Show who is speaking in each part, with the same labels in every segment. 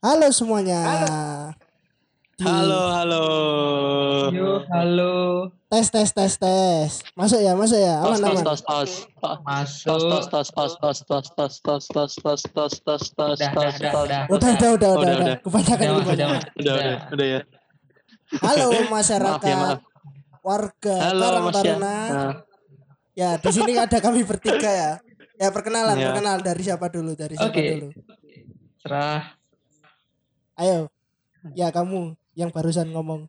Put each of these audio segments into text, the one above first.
Speaker 1: Halo semuanya. Di-
Speaker 2: Halo, halo.
Speaker 3: Yo, halo.
Speaker 1: Tes tes tes tes. Masuk ya, masuk ya.
Speaker 2: Tos
Speaker 1: Aman
Speaker 2: tos
Speaker 1: aman.
Speaker 2: tos tos. Tos tos
Speaker 3: Masuk.
Speaker 2: tos tos tos tos tos tos tos tos tos tos tos
Speaker 3: Dah,
Speaker 2: tos
Speaker 3: dah,
Speaker 2: tos.
Speaker 3: dah, dah.
Speaker 1: Udah udah udah udah.
Speaker 2: Oh, udah,
Speaker 1: udah.
Speaker 2: udah.
Speaker 1: Kebanyakan
Speaker 3: Udah,
Speaker 1: kebanyakan.
Speaker 3: udah.
Speaker 2: Udah, udah, udah ya.
Speaker 1: Halo
Speaker 2: Maaf ya,
Speaker 1: masyarakat
Speaker 2: maaf.
Speaker 1: warga
Speaker 2: Halo,
Speaker 1: Karang
Speaker 2: Mas ya.
Speaker 1: Taruna. Ya, di sini ada kami bertiga ya. Ya perkenalan,
Speaker 2: Ya.
Speaker 1: perkenalan dari siapa dulu? Dari siapa
Speaker 3: Oke.
Speaker 1: dulu?
Speaker 3: Serah.
Speaker 1: Ayo. Ya kamu yang barusan ngomong.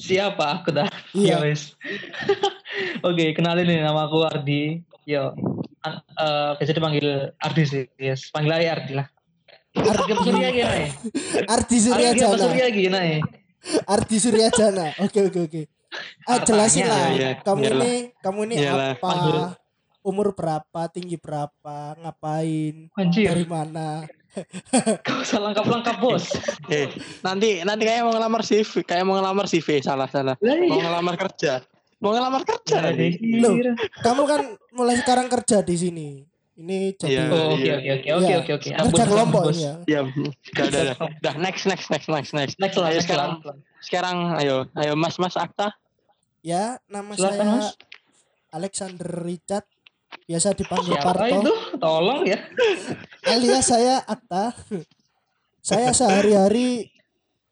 Speaker 3: Siapa aku dah?
Speaker 1: Iya.
Speaker 3: Ya, wis. Oke, kenalin nih nama aku Ardi. Yo. An- eh, biasa dipanggil Ardi sih. Yes, panggil aja Ardi lah. Ardi apa Surya gini nih?
Speaker 1: Ardi
Speaker 3: Ardi apa Surya
Speaker 1: Suryajana.
Speaker 3: gini nih?
Speaker 1: Ardi Suryajana. Oke oke oke. Ah
Speaker 3: Apanya?
Speaker 1: jelasin lah.
Speaker 2: Iya, iya.
Speaker 1: Kamu
Speaker 2: Iyalah.
Speaker 1: ini kamu ini
Speaker 2: Iyalah.
Speaker 1: apa? Umur berapa? Tinggi berapa? Ngapain?
Speaker 3: Anjir,
Speaker 1: Dari mana?
Speaker 3: kau salah lengkap-lengkap bos.
Speaker 2: Eh, nanti nanti kayak mau ngelamar CV, kayak mau ngelamar CV salah salah.
Speaker 3: Lah
Speaker 2: Mau
Speaker 3: iya.
Speaker 2: ngelamar kerja. Mau ngelamar kerja
Speaker 3: Nggak
Speaker 2: nanti.
Speaker 3: dikira.
Speaker 1: Kamu kan mulai sekarang kerja di sini. Ini jadi
Speaker 2: Iya.
Speaker 3: Oh, Oke, oke, oke, oke,
Speaker 1: Iya.
Speaker 3: oke, oke.
Speaker 1: kerja
Speaker 3: Ampun,
Speaker 1: kelompok
Speaker 3: ampun,
Speaker 1: ini ya.
Speaker 2: Ya, udah, udah, udah. Udah, next, next, next, next, next.
Speaker 3: Next lah,
Speaker 2: Ayo
Speaker 3: next
Speaker 2: sekarang.
Speaker 3: lah.
Speaker 2: Sekarang, ayo, ayo, Mas, Mas Akta.
Speaker 1: Ya, nama
Speaker 3: Silakan,
Speaker 1: saya
Speaker 3: Mas.
Speaker 1: Alexander Richard. Biasa dipanggil
Speaker 3: Siapa
Speaker 1: Parto.
Speaker 3: itu? Tolong ya.
Speaker 1: alias saya Atta. saya sehari-hari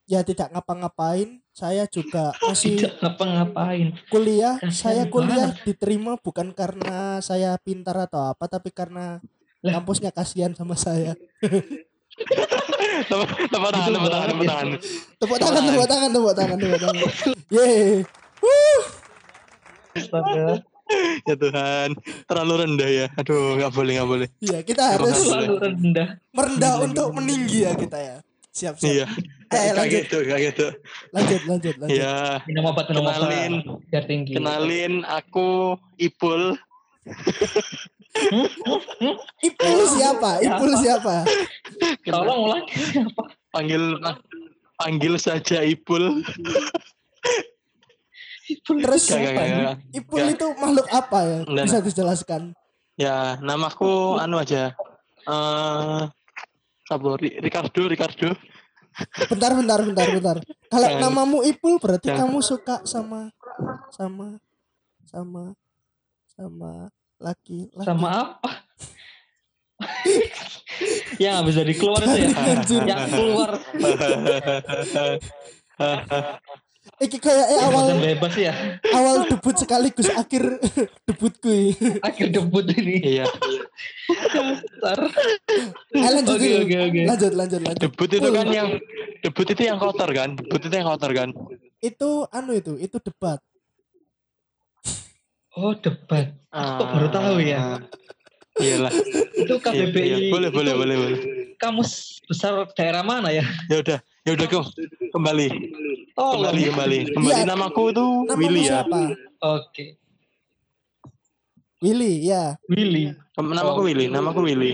Speaker 1: ya tidak ngapa-ngapain. Saya juga masih
Speaker 3: Tidak ngapa-ngapain.
Speaker 1: kuliah.
Speaker 3: Kasihan
Speaker 1: Saya kuliah diterima bukan karena saya pintar atau apa, tapi karena
Speaker 3: Lah.
Speaker 1: kampusnya kasihan sama saya.
Speaker 2: Tepuk tepuk tangan, tepuk tangan,
Speaker 3: ya.
Speaker 2: tepuk tangan.
Speaker 1: Tepuk tangan,
Speaker 2: Wah.
Speaker 1: tepuk tangan, tepuk tangan, tepuk tangan. Yeay.
Speaker 3: Astaga.
Speaker 2: Ya Tuhan, terlalu rendah ya. Aduh, nggak boleh, nggak boleh.
Speaker 1: Iya, kita harus
Speaker 2: Terima kasih.
Speaker 3: Selalu rendah.
Speaker 1: merendah untuk meninggi ya kita ya. Siap, siap.
Speaker 2: Iya.
Speaker 1: Eh,
Speaker 2: Kayak
Speaker 1: lanjut,
Speaker 2: gitu, kayak gitu.
Speaker 1: lanjut, lanjut, lanjut.
Speaker 2: Iya.
Speaker 3: Minum obat, minum obat.
Speaker 2: Kenalin,
Speaker 3: Biar tinggi.
Speaker 2: kenalin aku Ipul.
Speaker 3: Hmm? Hmm? Hmm?
Speaker 1: Ipul siapa? Ipul siapa?
Speaker 3: Tolong ulangi siapa?
Speaker 2: Panggil panggil saja Ipul.
Speaker 1: Terus
Speaker 2: Gak, gak, gak, gak.
Speaker 1: Ipul
Speaker 2: Ya.
Speaker 1: itu makhluk apa ya?
Speaker 2: Enggak,
Speaker 1: Bisa dijelaskan?
Speaker 2: Ya, namaku anu aja. Eh, Sabo Ri- Ricardo, Ricardo.
Speaker 1: Bentar, bentar, bentar, bentar. Kalau
Speaker 2: Jangan.
Speaker 1: namamu Ipul berarti
Speaker 2: Jangan.
Speaker 1: kamu suka sama sama sama sama laki laki.
Speaker 3: Sama apa? yang habis dari keluar itu ya.
Speaker 1: Anjir.
Speaker 3: yang keluar.
Speaker 1: Iki kayak eh, awal
Speaker 3: Yang bebas ya.
Speaker 1: awal debut sekaligus akhir debutku. ya.
Speaker 3: Akhir debut ini.
Speaker 2: Iya,
Speaker 3: Ntar.
Speaker 1: Eh, lanjut
Speaker 3: Oke,
Speaker 1: dulu.
Speaker 3: oke, oke.
Speaker 1: Lanjut, lanjut, lanjut.
Speaker 2: debut itu kan yang debut itu yang kotor kan? Debut itu yang kotor kan?
Speaker 1: Itu anu itu, itu debat.
Speaker 3: Oh, debat. Aku
Speaker 2: Ah.
Speaker 3: baru tahu ya.
Speaker 2: Iyalah.
Speaker 3: Itu
Speaker 2: Iya,
Speaker 3: KBBI.
Speaker 2: iya. Boleh,
Speaker 3: Itu
Speaker 2: boleh, boleh, boleh.
Speaker 3: Kamus besar daerah mana ya? Oh,
Speaker 2: Ya udah, ya udah ke kembali,
Speaker 3: Tolong.
Speaker 2: kembali, kembali, kembali.
Speaker 1: Iya.
Speaker 2: Namaku itu
Speaker 1: Namamu
Speaker 2: Willy ya.
Speaker 1: siapa?
Speaker 3: Oke.
Speaker 1: Willy, ya.
Speaker 3: Willy.
Speaker 2: Kem- Namaku Willy, namaku Willy.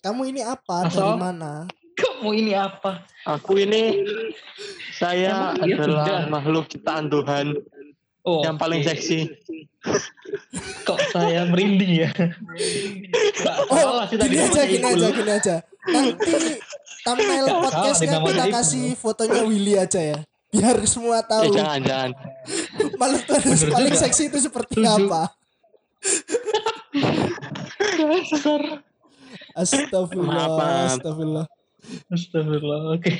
Speaker 1: Kamu ini apa?
Speaker 3: Asal?
Speaker 1: Dari mana?
Speaker 3: Kamu ini apa?
Speaker 2: Aku ini saya
Speaker 3: Emang iya, sudah.
Speaker 2: adalah makhluk ciptaan Tuhan
Speaker 3: Oh,
Speaker 2: yang paling
Speaker 3: oke.
Speaker 2: seksi. Eh,
Speaker 3: Kok saya merinding ya? Nggak
Speaker 1: Oh,
Speaker 3: salah sih tadi
Speaker 1: gini
Speaker 3: namanya
Speaker 1: aja, gini
Speaker 3: Ipul.
Speaker 1: aja, gini aja. Nanti thumbnail
Speaker 3: salah,
Speaker 1: podcastnya
Speaker 3: dinamain
Speaker 1: kita
Speaker 3: Ipul.
Speaker 1: kasih fotonya Willy aja ya. Biar semua
Speaker 2: Eh,
Speaker 1: tahu
Speaker 2: jangan, jangan.
Speaker 1: makhluk Tuhan
Speaker 3: Bener
Speaker 1: paling
Speaker 3: juga.
Speaker 1: seksi itu seperti
Speaker 3: Setuju.
Speaker 1: apa. Astagfirullah,
Speaker 2: Maaf, maaf.
Speaker 1: astagfirullah.
Speaker 3: Astagfirullah. Oke.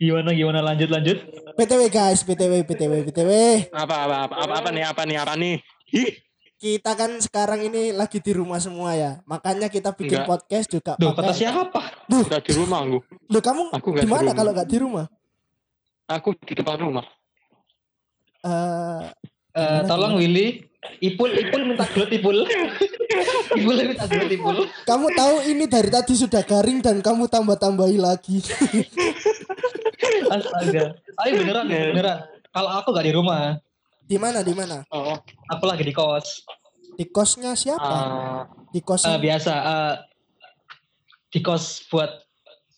Speaker 3: Gimana gimana lanjut lanjut?
Speaker 1: PTW guys, PTW, PTW, PTW.
Speaker 2: Apa, apa, apa, apa, apa nih, apa nih, apa nih? Ih,
Speaker 1: Kita kan sekarang ini lagi di rumah semua ya. Makanya kita bikin
Speaker 2: Enggak.
Speaker 1: podcast juga
Speaker 3: Duh, kata
Speaker 1: pakai.
Speaker 3: siapa?
Speaker 2: udah di rumah aku.
Speaker 1: Loh, kamu
Speaker 2: Aku nggak
Speaker 1: di
Speaker 2: di
Speaker 1: mana
Speaker 2: rumah.
Speaker 1: kalau nggak di rumah?
Speaker 2: Aku di depan rumah.
Speaker 1: Eh,
Speaker 3: Eh,
Speaker 1: Gimana,
Speaker 3: tolong Willy. Ipul Ipul minta gelut Ipul. Ipul minta gelut Ipul.
Speaker 1: kamu tahu ini dari tadi sudah garing dan kamu tambah-tambahi lagi.
Speaker 3: Astaga. Ayo beneran beneran. Kalau aku gak di rumah,
Speaker 1: di mana? Di mana?
Speaker 2: Oh,
Speaker 3: aku lagi di kos.
Speaker 1: Di kosnya
Speaker 2: Ah.
Speaker 1: siapa? Di kos
Speaker 3: Eh, biasa eh, di kos buat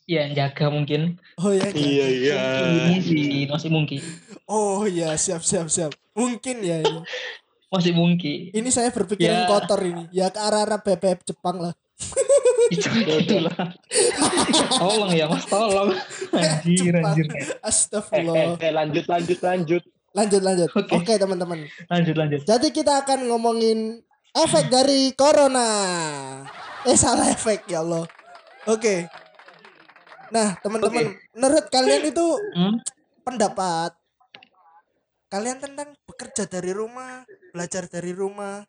Speaker 3: ya jaga mungkin.
Speaker 1: Oh ya. kan?
Speaker 2: iya, iya.
Speaker 3: Mungkin masih mungkin.
Speaker 1: Oh ya, siap siap siap. Mungkin ya ini.
Speaker 3: Masih mungkin.
Speaker 2: Iya.
Speaker 1: Ini saya berpikiran
Speaker 3: Ya.
Speaker 1: kotor ini. Ya ke arah-arah BBM Jepang lah.
Speaker 3: gitu lah. tolong ya mas, tolong. Anjir,
Speaker 1: Cepat.
Speaker 3: anjir.
Speaker 4: Eh, eh,
Speaker 1: Astagfirullah.
Speaker 4: eh, lanjut lanjut lanjut.
Speaker 1: Lanjut lanjut.
Speaker 3: Oke.
Speaker 1: Oke teman-teman.
Speaker 3: Lanjut, lanjut.
Speaker 1: Jadi kita akan ngomongin efek dari corona. Eh salah efek ya Allah. Oke. Nah teman-teman, menurut kalian itu
Speaker 3: Hmm?
Speaker 1: pendapat kalian tentang bekerja dari rumah, belajar dari rumah,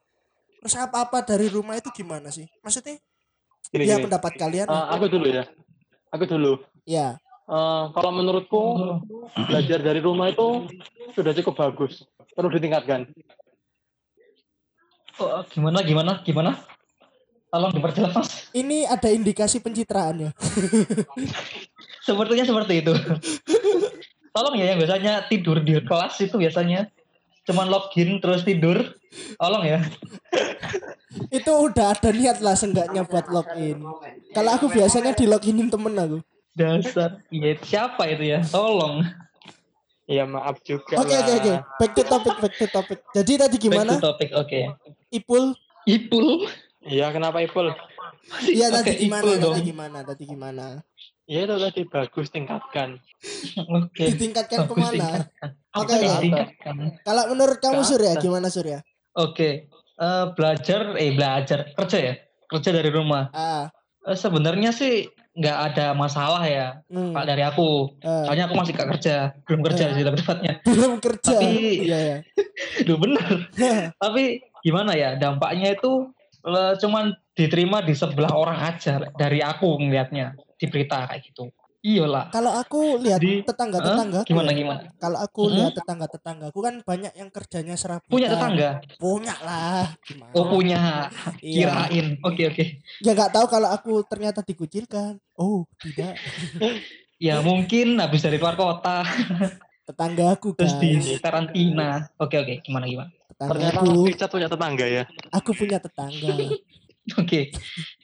Speaker 1: terus apa-apa dari rumah itu gimana sih? Maksudnya?
Speaker 2: Gini,
Speaker 1: ya
Speaker 2: gini.
Speaker 1: pendapat kalian?
Speaker 3: Ah.
Speaker 2: Eh, aku dulu ya. Aku dulu.
Speaker 1: ya.
Speaker 2: Eh, kalau menurutku belajar dari rumah itu sudah cukup bagus. Perlu ditingkatkan.
Speaker 3: Oh, gimana, gimana, gimana? Tolong diperjelas mas.
Speaker 1: Ini ada indikasi pencitraan ya.
Speaker 3: Sepertinya seperti itu. Tolong ya yang biasanya tidur di kelas itu biasanya cuman login terus tidur. Tolong ya.
Speaker 1: itu udah ada niat lah seenggaknya buat login. Kalau aku biasanya di loginin temen aku.
Speaker 3: Dasar. Iya, siapa itu ya? Tolong.
Speaker 2: Iya,
Speaker 4: Ya maaf juga.
Speaker 1: Oke oke
Speaker 4: lah.
Speaker 1: oke. Back to topic, back to topic. Jadi tadi
Speaker 3: Back
Speaker 1: gimana?
Speaker 3: to topic. Oke.
Speaker 1: Ipul?
Speaker 3: Ipul.
Speaker 2: Iya, kenapa Ipul?
Speaker 1: Iya
Speaker 3: Oke,
Speaker 1: tadi gimana?
Speaker 3: Ipul dong.
Speaker 1: Tadi gimana? Tadi gimana?
Speaker 2: Iya itu tadi bagus tingkatkan.
Speaker 3: Oke.
Speaker 1: Ditingkatkan
Speaker 3: Bagus,
Speaker 1: kemana?
Speaker 3: tingkatkan.
Speaker 1: Oke,
Speaker 3: Oke,
Speaker 1: oke.
Speaker 3: tingkatkan.
Speaker 1: Kalau menurut kamu
Speaker 2: Ke
Speaker 1: Surya
Speaker 2: atas.
Speaker 1: gimana Surya?
Speaker 3: Oke. Eh, belajar eh belajar kerja ya. Kerja dari rumah.
Speaker 1: Ah,
Speaker 3: Eh, sebenarnya sih nggak ada masalah ya
Speaker 1: hmm,
Speaker 3: Pak dari aku.
Speaker 1: eh,
Speaker 3: Soalnya aku masih gak kerja, belum kerja
Speaker 1: Eh.
Speaker 3: sih lebih tepatnya.
Speaker 1: belum kerja.
Speaker 3: Tapi-
Speaker 1: Iya Nah, ya.
Speaker 3: Duh bener. tapi gimana ya dampaknya itu le- cuman diterima di sebelah orang aja le, dari aku ngelihatnya di berita kayak gitu iyalah
Speaker 1: Kalau aku lihat
Speaker 3: Jadi,
Speaker 1: tetangga-tetangga,
Speaker 3: Hah? gimana gimana
Speaker 1: kalau aku
Speaker 3: Hmm?
Speaker 1: lihat tetangga-tetanggaku kan banyak yang kerjanya serabutan.
Speaker 3: punya tetangga
Speaker 1: Punya lah. Gimana?
Speaker 3: oh punya
Speaker 1: Iya.
Speaker 3: kirain oke oke
Speaker 1: Ya nggak tahu kalau aku ternyata dikucilkan. Oh tidak,
Speaker 3: ya mungkin habis dari luar kota
Speaker 1: tetangga aku guys.
Speaker 3: terus di karantina oke oke gimana gimana
Speaker 1: Tetangga
Speaker 2: Ternyata
Speaker 1: aku,
Speaker 2: Richard punya tetangga ya.
Speaker 1: aku punya tetangga.
Speaker 3: oke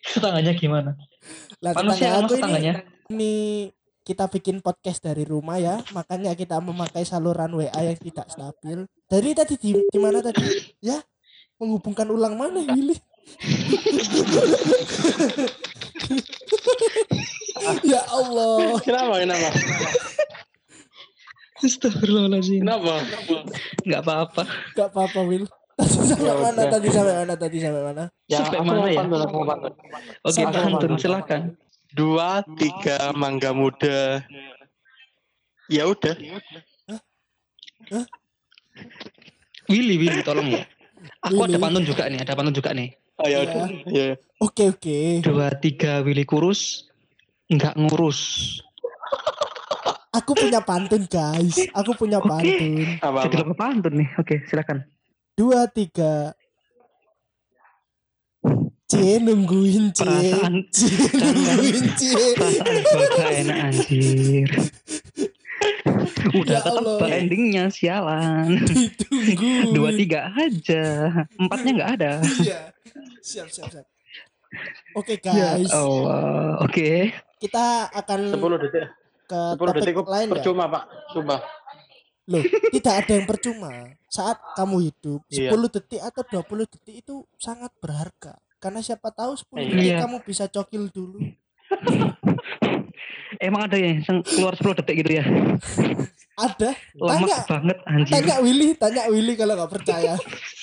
Speaker 3: tetangganya gimana
Speaker 1: Lah
Speaker 3: manusia
Speaker 1: tetangga
Speaker 3: mas
Speaker 1: aku ini,
Speaker 3: tetangganya
Speaker 1: ini kita bikin podcast dari rumah ya, makanya kita memakai saluran WA yang tidak stabil. Dari tadi di, di mana tadi? Ya, menghubungkan ulang mana Willy? ya Allah.
Speaker 2: Kenapa? Kenapa?
Speaker 3: Astagfirullahaladzim
Speaker 2: Kenapa?
Speaker 3: nggak apa-apa
Speaker 1: Gak apa-apa Will. Tadi sampai
Speaker 2: Ya
Speaker 1: mana
Speaker 2: udah.
Speaker 1: tadi sampai mana tadi sampai mana?
Speaker 2: Ya,
Speaker 3: Sampai
Speaker 2: aku
Speaker 3: mana
Speaker 2: mau
Speaker 3: ya?
Speaker 2: pantun, aku mau pantun.
Speaker 3: oke
Speaker 1: Sama-sama.
Speaker 3: pantun silahkan
Speaker 2: Dua, tiga, mangga muda. Ya udah.
Speaker 3: Willy Willy tolong ya aku ada
Speaker 1: Willy.
Speaker 3: pantun juga nih ada pantun juga nih
Speaker 2: Oh, ya udah. Ya.
Speaker 1: Iya.
Speaker 2: ya.
Speaker 1: Oke oke.
Speaker 3: dua tiga Willy kurus nggak ngurus
Speaker 1: Aku punya pantun guys. Aku punya
Speaker 3: Oke.
Speaker 1: pantun.
Speaker 2: Apa
Speaker 3: jadi
Speaker 2: apa?
Speaker 3: lupa pantun nih oke silakan
Speaker 1: dua tiga C nungguin C
Speaker 3: perasaan
Speaker 1: C nungguin C
Speaker 3: perasaan gua gak enak anjir udah
Speaker 1: Ya
Speaker 3: ketebak
Speaker 1: Allah.
Speaker 3: endingnya
Speaker 1: Hmm.
Speaker 3: sialan
Speaker 1: ditungguin
Speaker 3: dua tiga aja empatnya nggak ada
Speaker 1: Iya. siap siap siap oke
Speaker 3: Ya,
Speaker 1: guys
Speaker 3: oh. Allah oke
Speaker 1: kita akan
Speaker 2: Sepuluh detik.
Speaker 1: ke
Speaker 2: Sepuluh
Speaker 1: topik
Speaker 2: detik kok
Speaker 1: lain ya
Speaker 2: percuma, Pak. Sumpah.
Speaker 1: loh tidak ada yang percuma saat kamu hidup
Speaker 2: Iya.
Speaker 1: 10 detik atau 20 detik itu sangat berharga karena siapa tahu 10
Speaker 2: Iya.
Speaker 1: detik
Speaker 3: Iya.
Speaker 1: kamu bisa cokil dulu
Speaker 3: emang ada ya yang keluar 10 detik gitu ya
Speaker 1: ada
Speaker 3: lemak
Speaker 1: Tanya.
Speaker 3: banget anjir
Speaker 1: tanya Willy tanya Willy kalau nggak percaya